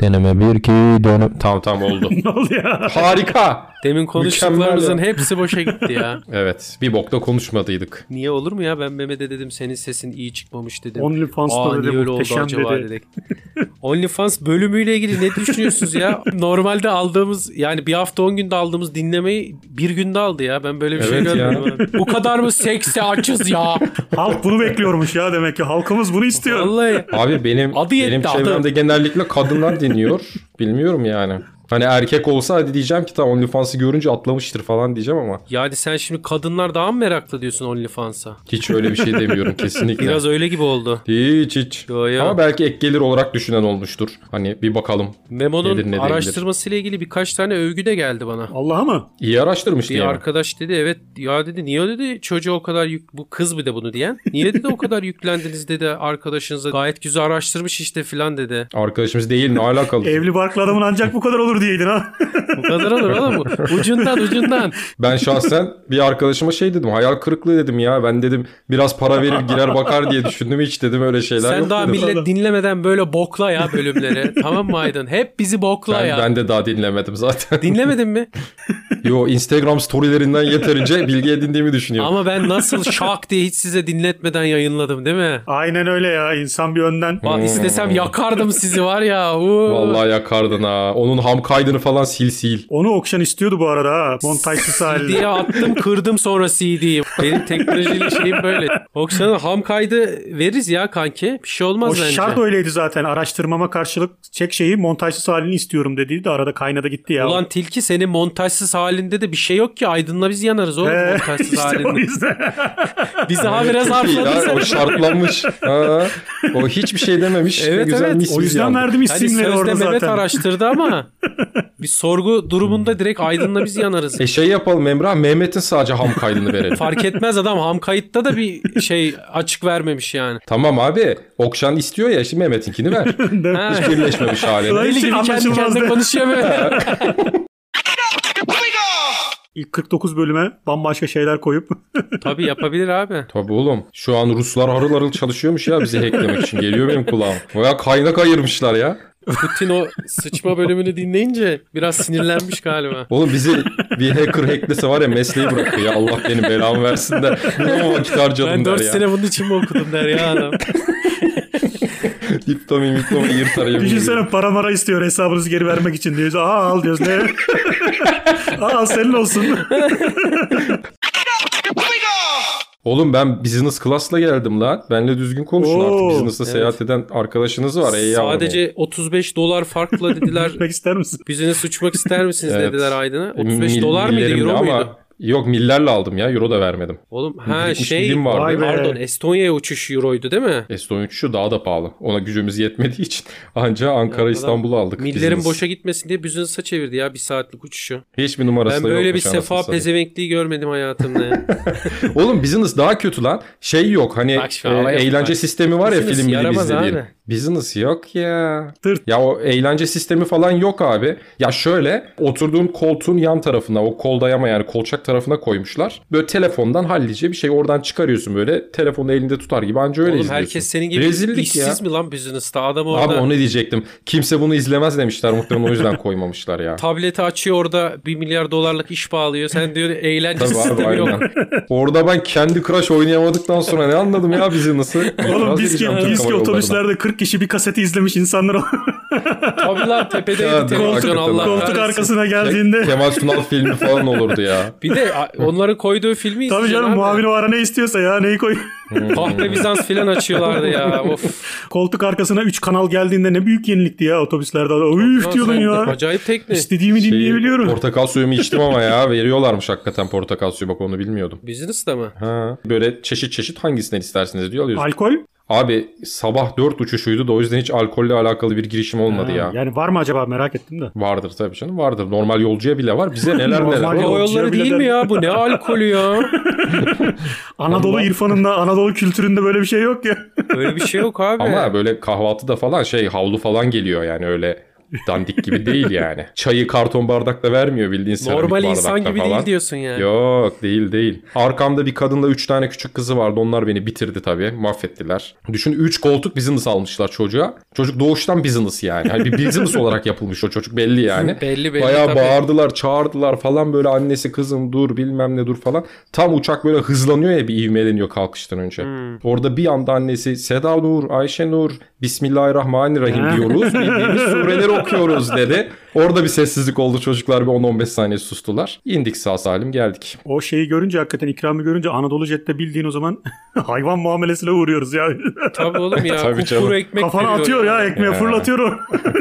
Deneme 1 2 dönüm. Tamam tamam oldu. ne oldu ya? Harika. Demin konuştuklarımızın hepsi boşa gitti ya. Evet. Bir bokta konuşmadıydık. Niye olur mu ya? Ben Mehmet'e dedim senin sesin iyi çıkmamış dedim. OnlyFans'ta Aa, dedi niye öyle oldu muhteşem acaba dedi. dedik. OnlyFans bölümüyle ilgili ne düşünüyorsunuz ya? Normalde aldığımız yani bir hafta 10 günde aldığımız dinlemeyi bir günde aldı ya. Ben böyle bir şey Evet ya. görmedim. abi. Bu kadar mı sekse açız ya? Halk bunu bekliyormuş ya demek ki. Halkımız bunu istiyor. Vallahi. Abi benim Adı yetti, benim adı. çevremde genellikle kadınlar dinliyor. Bilmiyorum yani. Hani erkek olsa hadi diyeceğim ki tam OnlyFans'ı görünce atlamıştır falan diyeceğim ama Yani sen şimdi kadınlar daha mı meraklı diyorsun OnlyFans'a? hiç öyle bir şey demiyorum kesinlikle. Biraz öyle gibi oldu. Hiç hiç. Yo, yo. Ama belki ek gelir olarak düşünen olmuştur. Hani bir bakalım. Memo'nun Nedir, ne değildir. araştırmasıyla ilgili birkaç tane övgü de geldi bana. Allah'a mı? İyi araştırmış Bir diye. mi? arkadaş dedi evet ya dedi niye dedi çocuğa o kadar yük bu kız bir de bunu diyen. Niye dedi o kadar yüklendiniz dedi arkadaşınıza gayet güzel araştırmış işte filan dedi. Arkadaşımız değil ne alakalı? Evli barklı adamın ancak bu kadar olur diyeydin ha. Bu kadar olur oğlum bu. Ucundan ucundan. Ben şahsen bir arkadaşıma şey dedim. Hayal kırıklığı dedim ya. Ben dedim biraz para verir girer bakar diye düşündüm. Hiç dedim öyle şeyler Sen yok daha dedim. millet dinlemeden böyle bokla ya bölümleri. tamam mı Aydın? Hep bizi bokla ben, ya. ben de daha dinlemedim zaten. Dinlemedin mi? Yo Instagram storylerinden yeterince bilgi edindiğimi düşünüyorum. Ama ben nasıl şak diye hiç size dinletmeden yayınladım değil mi? Aynen öyle ya. İnsan bir önden. Bak istesem yakardım sizi var ya. Uuu. Vallahi yakardın ha. Onun ham kaydını falan sil sil. Onu okşan istiyordu bu arada ha. Montajsız CD'ye halde. attım kırdım sonra CD'yi. Benim teknolojiyle şeyim böyle. Oksan'ın ham kaydı veririz ya kanki. Bir şey olmaz O bence. şart öyleydi zaten. Araştırmama karşılık çek şeyi montajsız halini istiyorum dediği de arada kaynadı gitti ya. Ulan Tilki senin montajsız halinde de bir şey yok ki. Aydın'la biz yanarız oğlum Ee, montajsız işte o halinde. yüzden. Biz daha biraz Çok iyi ya, harfladıysa. Şey, O şartlanmış. Ha. O hiçbir şey dememiş. Evet, Ne güzel evet. mis o mis yüzden yandı. verdim Hani isimleri sözde orada Mehmet zaten. araştırdı ama bir sorgu durumunda direkt Aydın'la biz yanarız. E şey yapalım Emrah. Mehmet'in sadece ham kaydını verelim. Fark etmez adam ham kayıtta da bir şey açık vermemiş yani. tamam abi. Okşan istiyor ya. Şimdi Mehmet'inkini ver. Ha. şey. Hiç birleşmemiş haline. Deli gibi kendi kendine Anlaşılmazdı. konuşuyor böyle. İlk 49 bölüme bambaşka şeyler koyup Tabii yapabilir abi. Tabii oğlum. Şu an Ruslar harıl harıl çalışıyormuş ya bizi hacklemek için. Geliyor benim kulağım. Baya kaynak ayırmışlar ya. Putin o sıçma bölümünü dinleyince biraz sinirlenmiş galiba. Oğlum bizi bir hacker hacklese var ya mesleği bırakıyor ya. Allah benim belamı versin de. Ne o vakit harcadım Ben der 4 ya. sene bunun için mi okudum der ya adam. Diptomi miptomi yırt arayabiliyor. düşünsene para mara istiyor hesabınızı geri vermek için diyoruz. Aa al diyoruz ne? Aa al, senin olsun. Oğlum ben business class'la geldim lan. Benle düzgün konuşun Oo, artık. Business'la seyahat eden arkadaşınız var. Ey yavrum. Sadece 35 dolar farkla dediler. Gitmek ister misin? Bizine suçmak ister misiniz Evet. dediler Aydın'a. E, 35 mil- dolar mıydı millerimdi euro ama- muydu? Yok millerle aldım ya. Euro da vermedim. Oğlum ha Birikmiş şey milim vardı. Vay be. pardon Estonya'ya uçuş euroydu değil mi? S13 şu daha da pahalı. Ona gücümüz yetmediği için anca Ankara Ya, İstanbul'u aldık. Millerin business. boşa gitmesin diye business'a çevirdi ya bir saatlik uçuşu. Hiçbir numarası Ben da böyle bir yokmuş sefa anasını satayım. pezevenkliği görmedim hayatımda. ya. Oğlum business daha kötü lan. Şey yok hani Bak şu e, havaya bak. eğlence sistemi var ya Business film gibi yaramaz izlediğin. abi. Business yok ya. Tırt. Ya o eğlence sistemi falan yok abi. Ya şöyle oturduğun koltuğun yan tarafına o kol dayama yani kolçak tarafına koymuşlar. Böyle telefondan hallice bir şey oradan çıkarıyorsun böyle. Telefonu elinde tutar gibi anca öyle Oğlum izliyorsun. herkes senin gibi Rezillik işsiz ya. mi lan business'ta? Adam orada Abi onu diyecektim. Kimse bunu izlemez demişler muhtemelen o yüzden koymamışlar ya. tableti açıyor orada 1 milyar dolarlık iş bağlıyor. Sen diyor eğlence Tabii abi sistemi yok. aynen. Orada ben kendi Crash oynayamadıktan sonra ne anladım ya bizi nasıl? Oğlum İtiraz biz ki, edeceğim Türk biz ki Hava Yolları'na. otobüslerde 40 kişi bir kaseti izlemiş insanlar o Tabii lan tepedeydi Ya, televizyon hakikaten Allah lan. koltuk kahretsin. arkasına Ke- geldiğinde. Kemal Sunal filmi falan olurdu ya. Bir de a- onların koyduğu filmi Tabii izleyeceksin canım abi. muavin o ara ne istiyorsa ya neyi koy. Kahpe Bizans filan açıyorlardı ya. Of. Koltuk arkasına 3 kanal geldiğinde ne büyük yenilikti ya otobüslerde. Üf diyordun ya. Acayip tekne. İstediğimi Şey, dinleyebiliyorum. Portakal suyumu içtim ama ya veriyorlarmış hakikaten portakal suyu bak onu bilmiyordum. Business'ta mı? Ha. Böyle çeşit çeşit hangisinden istersiniz diyor alıyorsun. Alkol? Abi sabah 4 uçuşuydu da o yüzden hiç alkolle alakalı bir girişim olmadı Ha, ya. Yani var mı acaba merak ettim de. Vardır tabii canım vardır. Normal yolcuya bile var. Bize neler Normal neler. yol- O Oğlum, yolları değil mi ya? Bu ne alkolü ya? Anadolu irfanında, Anadolu kültüründe böyle bir şey yok ya. Böyle bir şey yok abi. Ama böyle kahvaltıda falan şey havlu falan geliyor yani öyle dandik gibi değil yani. Çayı karton bardakla vermiyor bildiğin seramik Normal insan bardakta gibi falan. değil diyorsun yani. Yok değil değil. Arkamda bir kadınla 3 tane küçük kızı vardı. Onlar beni bitirdi tabii. Mahvettiler. Düşün 3 koltuk business almışlar çocuğa. Çocuk doğuştan business yani. Hani bir business olarak yapılmış o çocuk belli yani. Belli belli Bayağı tabii. bağırdılar çağırdılar falan böyle annesi kızım dur bilmem ne dur falan. Tam uçak böyle hızlanıyor ya bir ivmeleniyor kalkıştan önce. Orada bir anda annesi Seda Nur, Ayşe Nur, Bismillahirrahmanirrahim Ha. diyoruz. Bildiğimiz sureleri okuyoruz dedi. Orada bir sessizlik oldu çocuklar bir 10-15 saniye sustular. İndik sağ salim geldik. O şeyi görünce hakikaten ikramı görünce Anadolu Jet'te bildiğin o zaman hayvan muamelesine uğruyoruz ya. Tabii oğlum ya. Tabii canım. kupkuru ekmek Kafana veriyor atıyor ya yani. Ya. ekmeğe fırlatıyor o.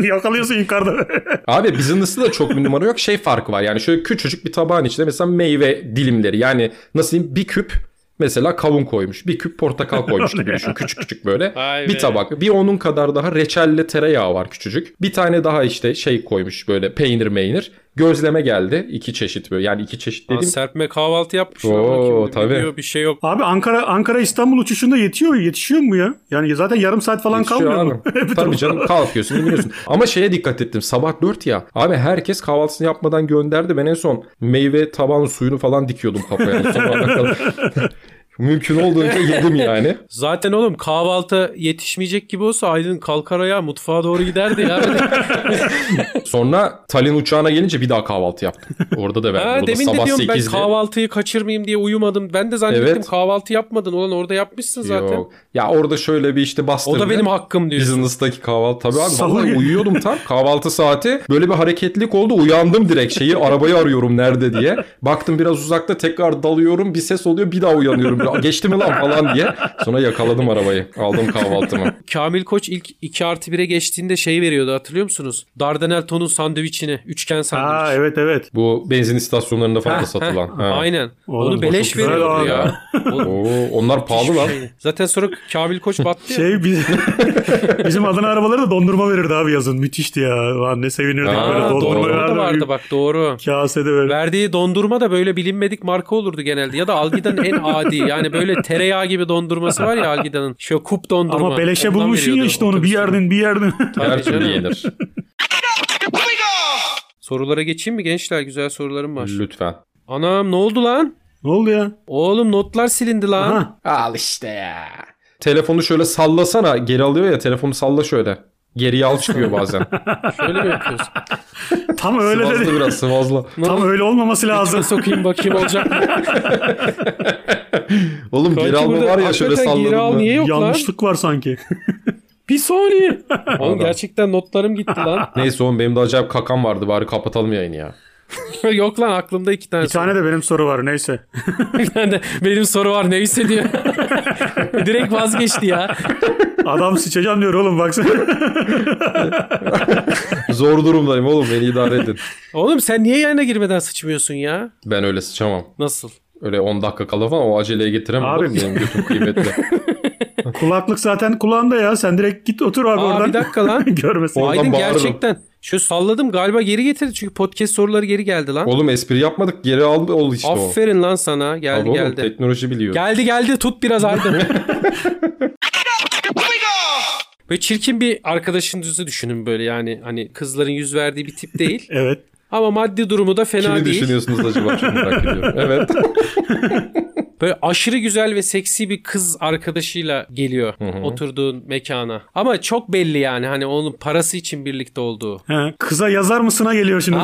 Yakalıyorsun yukarıda. Abi business'ta da çok bir numara yok. Şey farkı var yani şöyle küçücük bir tabağın içinde mesela meyve dilimleri yani nasıl diyeyim bir küp mesela kavun koymuş. Bir küp portakal koymuş gibi düşün. Küçük küçük böyle. Vay be. Bir tabak. Bir onun kadar daha reçelle tereyağı var küçücük. Bir tane daha işte şey koymuş böyle peynir meynir. Gözleme geldi. iki çeşit böyle. Yani iki çeşit Aa, dediğim serpme kahvaltı yapmışlar. Oo, Bakayım, tabii. biliyor, Bir şey yok. Abi Ankara Ankara İstanbul uçuşunda yetiyor yetişiyor mu ya? Yani zaten yarım saat falan Yetişiyor kalmıyor mu? abi. Bir şey Tabii tarafa- canım kalkıyorsun biniyorsun. Ama şeye dikkat ettim sabah 4 ya. Abi herkes kahvaltısını yapmadan gönderdi. Ben en son meyve taban suyunu falan dikiyordum kafaya. Sabaha kadar. Mümkün olduğunca yedim yani. Zaten oğlum kahvaltı yetişmeyecek gibi olsa Aydın kalkar ayağa mutfağa doğru giderdi ya. Hani, Sonra Talin uçağına gelince bir daha kahvaltı yaptım. Orada da verdim. ha, O da demin de sabah diyorum 8'di. ben kahvaltıyı kaçırmayayım diye uyumadım. Ben de zannettim Evet. kahvaltı yapmadın. Ulan orada yapmışsın zaten. Yok. Ya orada şöyle bir işte bastım. O da benim hakkım diyorsun. Business'taki kahvaltı tabii abi Sahur vallahi gibi. uyuyordum tam kahvaltı saati böyle bir hareketlilik oldu uyandım direkt şeyi arabayı arıyorum nerede diye baktım biraz uzakta tekrar dalıyorum bir ses oluyor bir daha uyanıyorum Ya geçti mi lan falan diye sonra yakaladım arabayı aldım kahvaltımı Kamil Koç ilk 2 artı 1'e geçtiğinde şey veriyordu hatırlıyor musunuz? Dardanel tonun sandviçini. Üçgen sandviç. Aa evet evet. bu benzin istasyonlarında falan da satılan Heh, Ha. Aynen. Oğlum, Onu bu beleş çok güzel veriyordu abi. ya. O- Oo, onlar pahalı lan Zaten sonra Kamil Koç battı ya. Şey biz, bizim Adana arabaları da dondurma verirdi abi yazın. Müthişti ya. Lan ne sevinirdik Aa, böyle Aa, doğru. dondurma doğru. Orada da verirdi. vardı bak doğru. Kasede böyle. Verdiği dondurma da böyle bilinmedik marka olurdu genelde. Ya da Algida'nın en adi. Yani böyle tereyağı gibi dondurması var ya Algida'nın. Şöyle kup dondurma. Ama beleşe Ondan bulmuşsun ya veriyordu işte onu bir otobüste. yerden bir yerden. Tabii her türlü canım. yenir Sorulara geçeyim mi gençler? Güzel sorularım var. lütfen Anam ne oldu lan? ne oldu ya? Oğlum notlar silindi lan. Aha. al işte ya telefonu şöyle sallasana geri alıyor ya telefonu salla şöyle geriye al çıkıyor bazen Şöyle mi yapıyorsun? Tam öyle sıvazla dedi. biraz sıvazla Tam öyle olmaması lazım. Ağzına sokayım bakayım olacak mı? Oğlum Kanki geri alma burada var ya şöyle hakikaten salladım. geri al ben. niye yok lan? Yanlışlık var sanki. Bir saniye. Oğlum Adam. gerçekten notlarım gitti lan. Neyse oğlum benim de acayip kakam vardı bari kapatalım yayını ya. yok lan aklımda iki tane Bir tane de benim soru var neyse. Bir tane de benim soru var neyse diyor. Direkt vazgeçti ya. Adam sıçacağım diyor oğlum baksana. Zor durumdayım oğlum beni idare edin. Oğlum sen niye yayına girmeden sıçmıyorsun ya? Ben öyle sıçamam. Nasıl? Öyle 10 dakika kala falan o aceleye getiremem Abi- oğlum benim götüm kıymetli. Kulaklık zaten kulağında ya. Sen direkt git otur abi Aa, oradan. bir dakika lan. Görmesin. Oradan Aydın bağırırım. gerçekten. Şu salladım galiba geri getirdi çünkü podcast soruları geri geldi lan. oğlum espri yapmadık geri al ol işte o. Aferin lan sana. Geldi Abi oğlum, geldi. teknoloji biliyor. Geldi geldi tut biraz Aydın. Böyle çirkin bir arkadaşınızı düşünün böyle yani hani kızların yüz verdiği bir tip değil. Evet. Ama maddi durumu da fena Kimi değil. düşünüyorsunuz acaba çok merak ediyorum. Evet. Böyle aşırı güzel ve seksi bir kız arkadaşıyla geliyor oturduğun mekana. Ama çok belli yani hani onun parası için birlikte olduğu. He, kıza yazar mısına geliyor şimdi.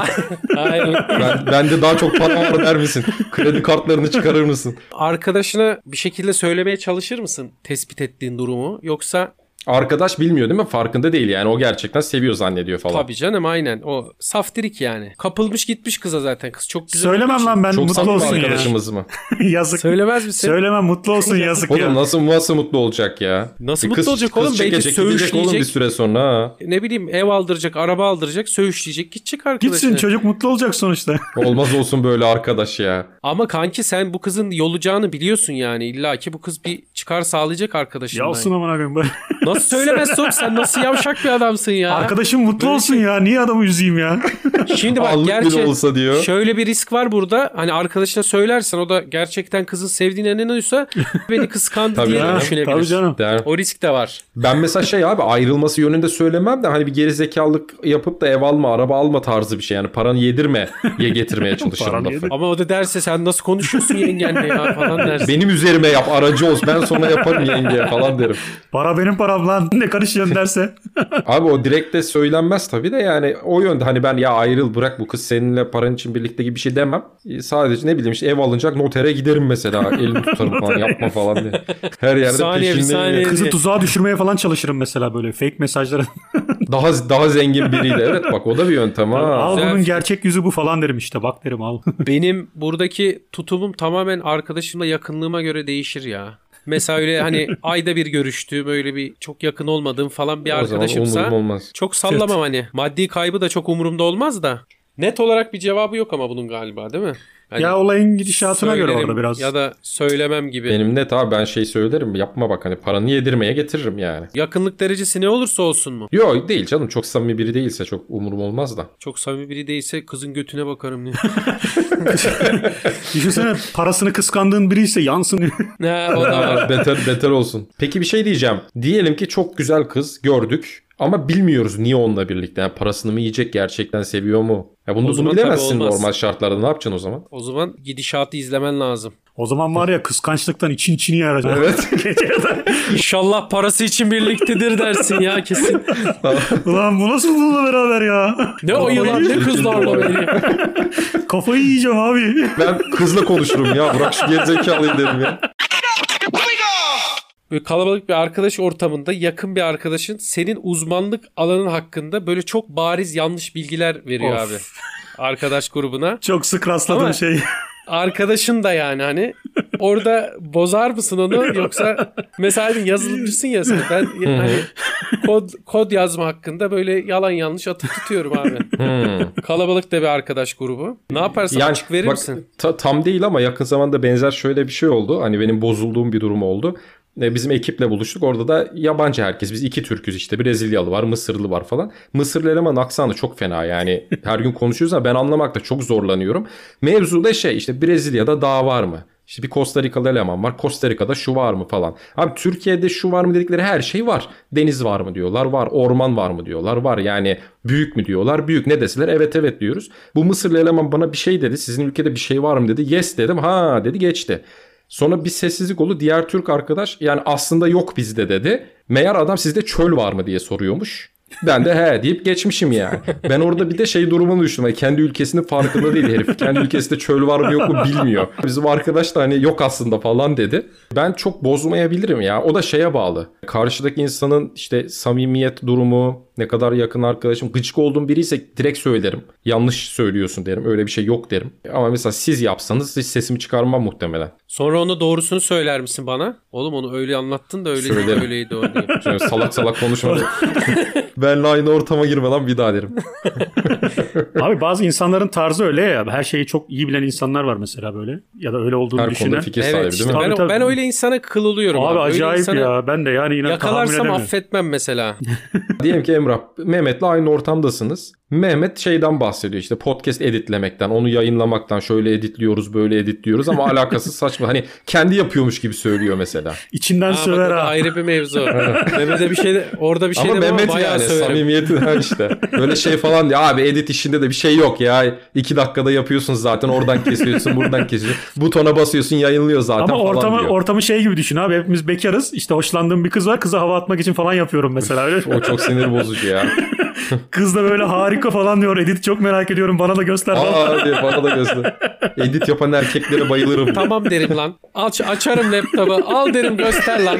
Aynen. Ben, bende daha çok para var der misin? Kredi kartlarını çıkarır mısın? Arkadaşına bir şekilde söylemeye çalışır mısın tespit ettiğin durumu? Yoksa Arkadaş bilmiyor değil mi? Farkında değil yani. O gerçekten seviyor zannediyor falan. tabii canım aynen o saftirik yani. Kapılmış gitmiş kıza zaten kız çok güzel. olduğu Söylemem için. lan ben Çok mutlu samimi olsun ya. arkadaşımız mı? yazık. Söylemez misin? Söylemem mutlu olsun yazık Oğlum ya. nasıl nasıl mutlu olacak ya? Nasıl Bir mutlu olacak oğlum? Belki çekecek, gidecek söğüşleyecek. oğlum bir süre sonra ha. ne bileyim ev aldıracak, araba aldıracak, söğüşleyecek, gidecek arkadaşına. Gitsin çocuk mutlu olacak sonuçta. Olmaz olsun böyle arkadaş ya. Ama kanki sen bu kızın yolacağını biliyorsun yani. İlla ki bu kız bir çıkar sağlayacak arkadaşından. Yalsın aman akım. Nasıl söylemez Tom sen nasıl yavşak bir adamsın ya. Arkadaşım mutlu olsun şey- ya. Niye adamı üzeyim ya? Şimdi bak Anlık bile gerçi olsa diyor. şöyle bir risk var burada. Hani arkadaşına söylersen o da gerçekten kızın sevdiğine inanıyorsa beni kıskandı Tabii diye de canım. düşünebilir. Tabii canım. Der. O risk de var. Ben mesela şey abi ayrılması yönünde söylemem de hani bir gerizekalılık yapıp da ev alma, araba alma tarzı bir şey. Yani paranı yedirme ye getirmeye çalışırım Paranı lafı. yedir- Ama o da derse sen nasıl konuşuyorsun yengenle ya falan dersin. Benim üzerime yap aracı olsun ben sonra yaparım yenge falan derim. Para benim param lan. Ne karışıyorsun derse. Abi o direkt de söylenmez tabii de yani o yönde hani ben ya ayrıl bırak bu kız seninle paran için birlikte gibi bir şey demem. E, Sadece ne bileyim işte ev alınacak notere giderim mesela elini tutarım falan yapma falan diye. Her yerde saniye, bir peşinde saniye. Kızı Evet. tuzağa düşürmeye falan çalışırım mesela böyle fake mesajlara. daha daha zengin biriyle evet bak o da bir yöntem ha. al güzel bunun fikir. gerçek yüzü bu falan derim işte. Bak derim al. Benim buradaki tutumum tamamen arkadaşımla yakınlığıma göre değişir ya. Mesela öyle hani ayda bir görüştüğüm öyle bir çok yakın olmadığım falan bir O zaman arkadaşımsa umurum olmaz. çok sallamam hani. Maddi kaybı da çok umurumda olmaz da. Net olarak bir cevabı yok ama bunun galiba değil mi? Hani ya olayın gidişatına göre söylerim orada biraz. Ya da söylemem gibi. Benim net abi ben şey söylerim yapma bak hani paranı yedirmeye getiririm yani. Yakınlık derecesi ne olursa olsun mu? Yok değil canım çok samimi biri değilse çok umurum olmaz da. Çok samimi biri değilse kızın götüne bakarım diyor. Düşünsene parasını kıskandığın biri ise yansın. ne o da var. beter beter olsun. Peki bir şey diyeceğim. Diyelim ki çok güzel kız gördük ama bilmiyoruz niye onunla birlikte. Yani parasını mı yiyecek gerçekten seviyor mu? Ya bunu, O bunu zaman bilemezsin tabii olmaz. normal şartlarda ne yapacaksın o zaman? O zaman gidişatı izlemen lazım. o zaman var ya kıskançlıktan için içini yaracak. Evet. İnşallah parası için birliktedir dersin ya kesin. Ulan bu nasıl bununla beraber ya? Ne o yılan ne kızlarla beni. Kafayı yiyeceğim abi. ben kızla konuşurum ya bırak şu gerizekalıyı derim ya. Böyle kalabalık bir arkadaş ortamında yakın bir arkadaşın senin uzmanlık alanın hakkında böyle çok bariz yanlış bilgiler veriyor Of. abi. Arkadaş grubuna. Çok sık rastladığım Ama- şey. Arkadaşın da yani hani orada bozar mısın onu yoksa mesela hani yazılımcısın ya sen ben hani kod, kod yazma hakkında böyle yalan yanlış atıp tutuyorum abi. Hmm. Kalabalık da bir arkadaş grubu. Ne yaparsın Yani açık verir bak, misin? ta- tam değil ama yakın zamanda benzer şöyle bir şey oldu. Hani benim bozulduğum bir durum oldu. E, Bizim ekiple buluştuk. Orada da yabancı herkes. Biz iki Türk'üz işte. Brezilyalı var, Mısırlı var falan. Mısırlı elemanın aksanı çok fena yani. Her gün konuşuyoruz ama ben anlamakta çok zorlanıyorum. Mevzu da şey işte Brezilya'da dağ var mı? İşte bir Costa Rikalı eleman var. Costa Rica'da şu var mı falan. Abi Türkiye'de şu var mı dedikleri her şey var. Deniz var mı diyorlar var. Orman var mı diyorlar var. Yani büyük mü diyorlar büyük. Ne deseler evet evet diyoruz. Bu Mısırlı eleman bana bir şey dedi. Sizin ülkede bir şey var mı dedi. Yes dedim. Ha dedi geçti. Sonra bir sessizlik oldu. Diğer Türk arkadaş yani aslında yok bizde dedi. Meğer adam sizde çöl var mı diye soruyormuş. Ben de he deyip geçmişim yani. Ben orada bir de şey durumunu düşündüm. Yani kendi ülkesinin farkında değil herif. Kendi ülkesinde çöl var mı yok mu bilmiyor. Bizim arkadaş da hani yok aslında falan dedi. Ben çok bozmayabilirim ya. O da şeye bağlı. Karşıdaki insanın işte samimiyet durumu, ne kadar yakın arkadaşım. Gıcık olduğum biri ise direkt söylerim. Yanlış söylüyorsun derim. Öyle bir şey yok derim. Ama mesela siz yapsanız hiç sesimi çıkarmam muhtemelen. Sonra onu doğrusunu söyler misin bana? Oğlum onu öyle anlattın da öyle Söylerim. öyleydi o diye. Şöyle salak salak konuşma. Benle aynı ortama girme lan bir daha derim. Abi bazı insanların tarzı öyle ya. Her şeyi çok iyi bilen insanlar var mesela böyle. Ya da öyle olduğunu Her konuda düşünen. fikir evet, sahibi işte değil mi? Tabii, Ben, tabii. ben öyle insana kıl oluyorum. Abi Öyle acayip insana ya. Ben de yani inan tahammül Yakalarsam edemiyorum. affetmem mesela. Diyelim ki Emrah, Mehmet'le aynı ortamdasınız. Mehmet şeyden bahsediyor işte podcast editlemekten, onu yayınlamaktan şöyle editliyoruz, böyle editliyoruz ama alakasız saçma. Hani kendi yapıyormuş gibi söylüyor mesela. İçinden Aa, bak, o söver da ha. ayrı bir mevzu. Mehmet'e bir şey de, orada bir şey ama demem ama Mehmet bayağı yani söverim. samimiyeti ha işte. Böyle şey falan diyor. Abi edit işinde de bir şey yok ya. İki dakikada yapıyorsun zaten. Oradan kesiyorsun, buradan kesiyorsun. Butona basıyorsun, yayınlıyor zaten Ama falan ortamı diyor. ortamı şey gibi düşün abi. Hepimiz bekarız. İşte hoşlandığım bir kız var. Kıza hava atmak için falan yapıyorum mesela. Öyle. o çok sinir bozucu ya. Kız da böyle harika falan diyor. Edit çok merak ediyorum. Bana da göster. falan. Aa diye bana da göster. Edit yapan erkeklere bayılırım. Tamam derim lan. Aç, açarım laptopu. Al derim göster lan.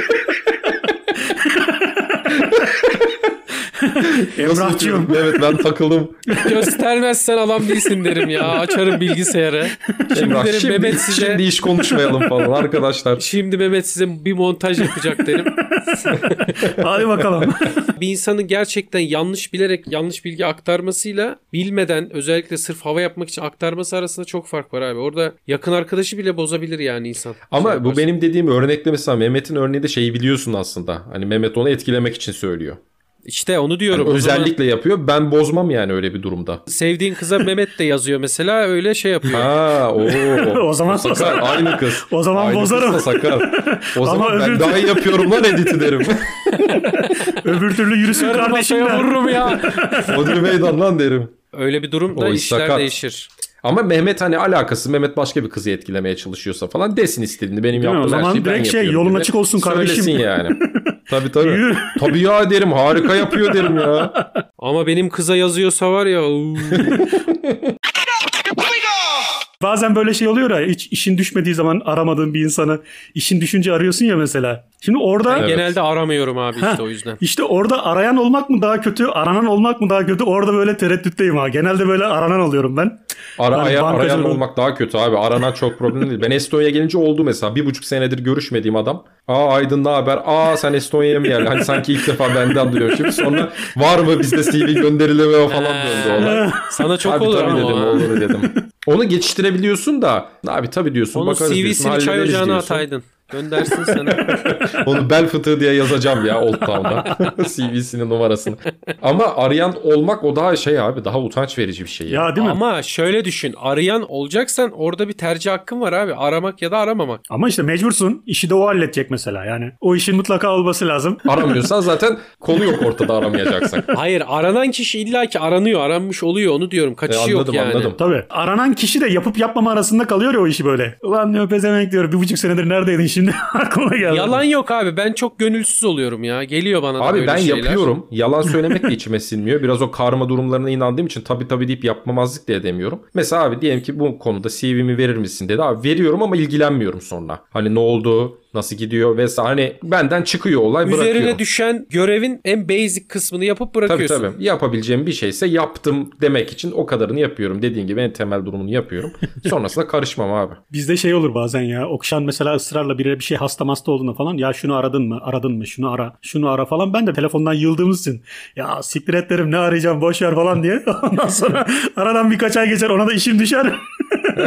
Nasıl Emrahcığım. yapıyorum? Evet ben takıldım. Göstermezsen adam değilsin derim ya. Açarım bilgisayarı. Şimdi Emrah, derim şimdi, Mehmet size Şey şimdi iş konuşmayalım falan arkadaşlar. Şimdi Mehmet size bir montaj yapacak derim. Hadi bakalım. bir insanın gerçekten yanlış bilerek yanlış bilgi aktarmasıyla bilmeden özellikle sırf hava yapmak için aktarması arasında çok fark var abi. Orada yakın arkadaşı bile bozabilir yani insan. Ama Şey bu yaparsa. benim dediğim örnekle mesela Mehmet'in örneğinde şeyi biliyorsun aslında. Hani Mehmet onu etkilemek için söylüyor. işte onu diyorum. Yani O zaman özellikle yapıyor. Ben bozmam yani öyle bir durumda. sevdiğin kıza Mehmet de yazıyor mesela öyle şey yapıyor. Ha, oo. O zaman- sakar aynı kız. O zaman Aynı kız bozarım. da sakar. O zaman öbür- ben daha iyi yapıyorum lan editi derim. Öbür türlü yürüsün Kardeşim kardeşim masaya ben. vururum ya. Odri meydan lan derim. Öyle bir durumda O iş işler sakat. değişir. Ama Mehmet hani alakası Mehmet başka bir kızı etkilemeye çalışıyorsa falan desin istediğini. Benim mi? O yaptığım her zaman şeyi ben direkt şey, yapıyorum yolun diye. açık olsun kardeşim. Söylesin yani. tabii tabii. Yürü. tabii ya derim harika yapıyor derim ya. Ama benim kıza yazıyorsa var ya uuu. Bazen böyle şey oluyor ya hiç işin düşmediği zaman aramadığın bir insanı işin düşünce arıyorsun ya mesela. Şimdi orada Evet. genelde aramıyorum abi işte Heh, o yüzden. İşte orada arayan olmak mı daha kötü, aranan olmak mı daha kötü? Orada böyle tereddütteyim ha. Genelde böyle aranan oluyorum ben. Ara, Hani aya- bankacı arayan olur. olmak daha kötü abi. Aranan çok problem değil. Ben Estonya'ya gelince oldu mesela. Bir buçuk senedir görüşmediğim adam. Aa Aydın ne haber? Aa sen Estonya'ya mı geldin? Hani sanki ilk defa benden duyuyorum. Şimdi sonra var mı bizde CV gönderileme falan döndü olay. Sana Ee, çok Tabii olur tabii ama dedim, o ha. olur dedim. Onu geçiştirebiliyorsun da abi tabii diyorsun Onun bakarız diyorsun, CV'sini çay hallederiz ocağına diyorsun. ataydın. Göndersin sana. Onu bel fıtığı diye yazacağım ya Old Town'da. CV'sinin numarasını. Ama arayan olmak o daha şey abi daha utanç verici bir şey. Ya. Ya değil mi? Ama, Ama şöyle düşün. Arayan olacaksan orada bir tercih hakkın var abi. Aramak ya da aramamak. işte mecbursun. İşi de o halledecek mesela yani. O işin mutlaka olması lazım. Aramıyorsan zaten konu yok ortada aramayacaksan. Hayır aranan kişi illaki aranıyor. Aranmış oluyor onu diyorum. Kaçışı E, şey yok anladım, yani. anladım. Tabii. Aranan kişi de yapıp yapmama arasında kalıyor ya o işi böyle. Ulan ne pezevenk diyor. Bir buçuk senedir neredeydin şimdi? Aklıma geldi. Yalan yok abi. Ben çok gönülsüz oluyorum ya. Geliyor bana da Abi böyle ben şeyler. yapıyorum. Yalan söylemek de içime sinmiyor. Biraz o karma durumlarına inandığım için tabii tabii deyip yapmamazlık da edemiyorum. Mesela abi diyelim ki bu konuda CV'mi verir misin dedi. Abi veriyorum ama ilgilenmiyorum sonra. Hani ne oldu? Nasıl gidiyor? Vesaire. Hani benden çıkıyor olay bırakıyorum. Üzerine düşen görevin en basic kısmını yapıp Tabii bırakıyorsun. tabii. Yapabileceğim bir şeyse yaptım demek için o kadarını yapıyorum. Dediğin gibi en temel durumunu yapıyorum. Sonrasında karışmam abi. Bizde şey olur bazen ya. Okşan mesela ısrarla birine bir şey hasta hasta olduğunda falan. Ya şunu aradın mı? Aradın mı? Şunu ara. Şunu ara falan. Ben de telefondan yıldığımız için. Ya siktir et derim ne arayacağım boş ver falan diye. Ondan sonra aradan birkaç ay geçer ona da işim düşer.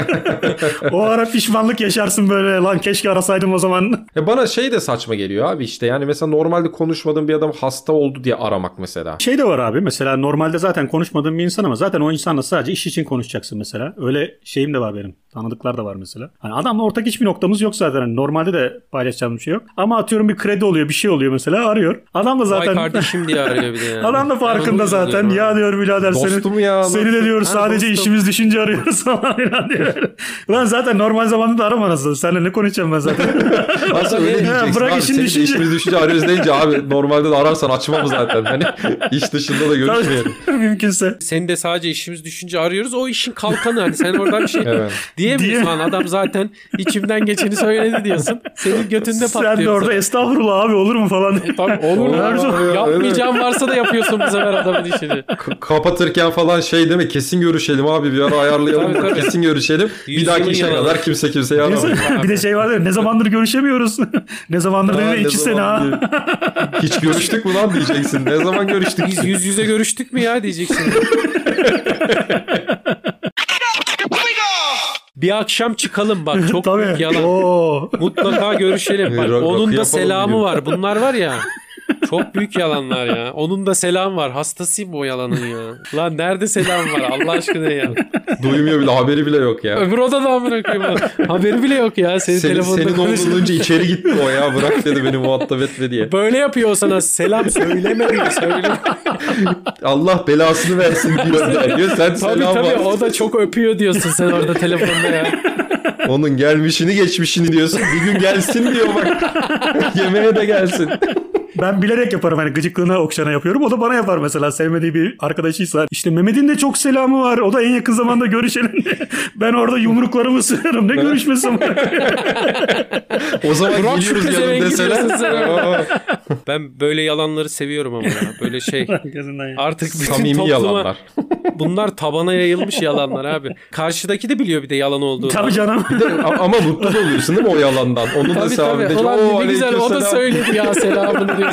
o ara pişmanlık yaşarsın böyle. Lan keşke arasaydım o zaman. Ya bana şey de saçma geliyor abi işte yani mesela normalde konuşmadığım bir adam hasta oldu diye aramak mesela. Şey de var abi mesela normalde zaten konuşmadığım bir insan ama zaten o insanla sadece iş için konuşacaksın mesela. Öyle şeyim de var benim. Tanıdıklar da var mesela. Hani adamla ortak hiçbir noktamız yok zaten. Hani normalde de paylaşacağım bir şey yok. Ama atıyorum bir kredi oluyor bir şey oluyor mesela arıyor. Adam da Vay zaten... kardeşim diye arıyor bir de yani. Adam da Ben farkında onu zaten. üzülüyorum. Ya diyor birader Dostum seni, ya, seni de dostum. diyor Ha, sadece dostum. işimiz düşünce arıyoruz falan filan diyor. Lan zaten normal zamanda da arama nasıl? Seninle ne konuşacağım ben zaten. Aslında öyle Ha, diyeceksin bırak abi. işin Seni de düşünce. işimiz düşünce arıyoruz deyince abi normalde de ararsan açmam zaten. Hani iş dışında da görüşmeyelim. Mümkünse. Seni de sadece işimiz düşünce arıyoruz. O işin kalkanı hani sen oradan bir şey Evet. diyemiyorsun Diye- lan adam zaten içimden geçeni söyledi diyorsun. Senin götünde patlıyor. Sen de orada estağfurullah abi olur mu falan. Tabii olur mu? Olur mu? Yapmayacağın varsa da yapıyorsun bu sefer adamın işini. K- kapatırken falan şey deme kesin görüşelim abi bir ara ayarlayalım Tabii, tabii. kesin görüşelim. Bir Yüzünü dahaki işe yalan. kadar kimse kimseye aramıyor. bir de şey var ya ne zamandır görüşemiyoruz. ne zamandır Ha, değil ne iki sene zaman ha. diye- Hiç görüştük mü lan diyeceksin. Ne zaman görüştük? Biz yüz yüze görüştük mü ya diyeceksin. bir akşam çıkalım bak çok büyük Tabii. yalan. Oo. Mutlaka görüşelim. Bak, Rak- rakı onun da yapalım selamı diyor. var. Bunlar var ya. Çok büyük yalanlar ya. Onun da selam var. Hastasıyım o yalanın ya. Lan nerede selam var Allah aşkına ya. Duymuyor bile haberi bile yok ya. Öbür odada amına koyayım. lan. Haberi bile yok ya. Senin, Senin, telefonda senin konuş- oğlun olunca içeri gitti o ya bırak dedi beni muhatap etme diye. Böyle yapıyor o sana. Selam söyleme diyor. Söyleme. Allah belasını versin diyor. der diyor. Sen Tabii selam tabii var. o da çok öpüyor diyorsun sen orada telefonda ya. Onun gelmişini geçmişini diyorsun. Bir gün gelsin diyor bak. Yemeğe de gelsin. Ben bilerek yaparım hani gıcıklığına okşana yapıyorum. O da bana yapar mesela sevmediği bir arkadaşıysa. İşte Mehmet'in de çok selamı var. O da en yakın zamanda görüşelim. ben orada yumruklarımı sığarım. Ne görüşmesi var? O zaman Bırak şu geliyoruz pezevengi yanım diyorsun sen. deseler. Aa, Ben böyle yalanları seviyorum ama ya. Böyle şey Gözünden ya. artık bütün Samimi topluma yalanlar. bunlar tabana yayılmış yalanlar abi. Karşıdaki de biliyor bir de yalan olduğunu. Tabii canım. A- Ama mutlu da oluyorsun değil mi o yalandan? Onun da Tabii sevabı. tabii. diyecek, Ulan "Oo, ne güzel o da aleykümselam." söyledi ya selamını diyorsun.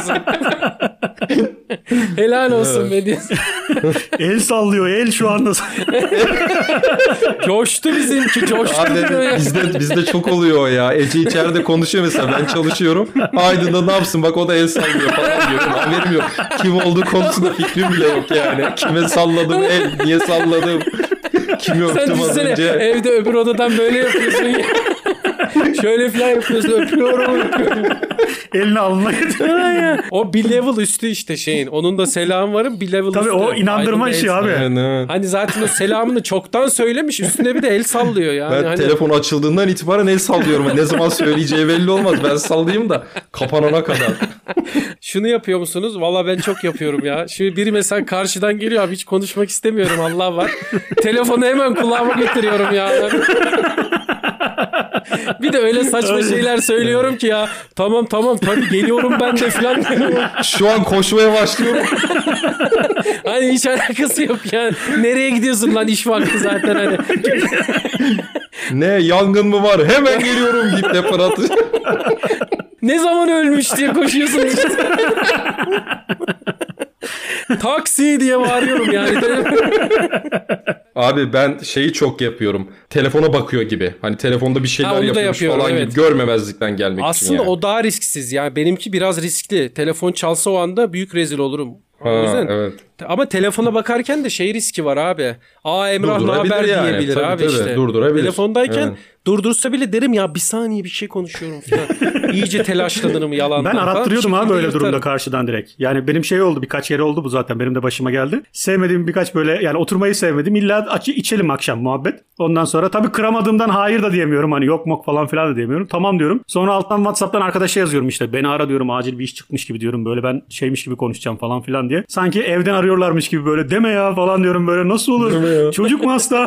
Helal olsun be diyorsun. el sallıyor el şu anda. Coştu bizimki coştu. Abi dedi, Böyle. bizde, bizde çok oluyor o ya. Ece içeride konuşuyor mesela ben çalışıyorum. Aydın da ne yapsın bak o da el sallıyor falan diyor. Ben haberim yok. Kim olduğu konusunda fikrim bile yok yani. Kime salladım el, niye salladım. Kimi Sen öptüm az düşünsene E, önce. evde öbür odadan böyle yapıyorsun ya. Şöyle falan yapıyorsun öpüyorum öpüyorum. Elini alnına getiriyor. O bir level üstü işte şeyin. Onun da selam varım bir level Tabii üstü. o inandırma Aydın işi Bey. abi. Yani, Hani zaten o selamını çoktan söylemiş üstüne bir de el sallıyor yani. ben Hani telefon açıldığından itibaren el sallıyorum. Ne zaman söyleyeceği belli olmaz. Ben sallayayım da kapanana kadar. Şunu yapıyor musunuz? Valla ben çok yapıyorum ya. Şimdi biri mesela karşıdan geliyor abi hiç konuşmak istemiyorum Allah var. Telefonu hemen kulağıma getiriyorum ya. bir de öyle saçma şeyler söylüyorum ki ya. Tamam tamam tabii geliyorum ben de falan. Şu an koşmaya başlıyorum. hani hiç alakası yok yani. Nereye gidiyorsun lan iş vakti zaten hani. Ne yangın mı var? Hemen geliyorum deyip depar atacağım. Ne zaman ölmüş diye koşuyorsun. Taksi diye bağırıyorum yani. Abi ben şeyi çok yapıyorum. Telefona bakıyor gibi. Hani telefonda bir şeyler Ha, onu da yapıyormuş yapıyorum, falan evet. gibi. Görmemezlikten gelmek Aslında için yani. o daha risksiz. Yani benimki biraz riskli. Telefon çalsa o anda büyük rezil olurum. o Ha, yüzden. evet. Ama telefona bakarken de şey riski var abi. Aa Emrah ne Durdurabilir haber yani. diyebilir Tabii, abi tabii. işte. Durdurabilir. Telefondayken Evet. durdursa bile derim ya bir saniye bir şey konuşuyorum falan. İyice telaşlanırım yalandan. Ben falan. arattırıyordum Bir abi şekilde böyle durumda yırtarım. karşıdan direkt. Yani benim şey oldu birkaç yere oldu bu zaten benim de başıma geldi. Sevmediğim birkaç böyle yani oturmayı sevmedim. İlla açı içelim akşam muhabbet. Ondan sonra tabii kıramadığımdan hayır da diyemiyorum. Hani yok mok falan filan da diyemiyorum. Tamam diyorum. Sonra alttan Whatsapp'tan arkadaşa yazıyorum işte. Beni ara diyorum acil bir iş çıkmış gibi diyorum. Böyle ben şeymiş gibi konuşacağım falan filan diye. Sanki evden arıyorlarmış gibi böyle deme ya falan diyorum böyle nasıl olur? Çocuk mu hasta?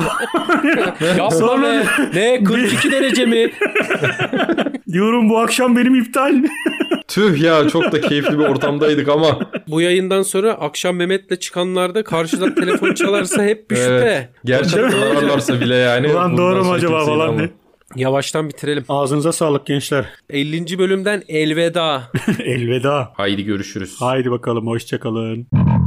Yapma Sonra- be. Ne 42 derece mi? diyorum bu akşam benim iptal. Tüh ya çok da keyifli bir ortamdaydık ama. Bu yayından sonra akşam Mehmet'le çıkanlarda karşıdan telefon çalarsa hep bir Evet. şüphe. e, Gerçekten ararlarsa bile yani. Ulan doğru mu bundan acaba sonra falan diye. kimseyi Yavaştan bitirelim. Ağzınıza sağlık gençler. 50. bölümden elveda. Elveda. Haydi görüşürüz. Haydi bakalım hoşçakalın.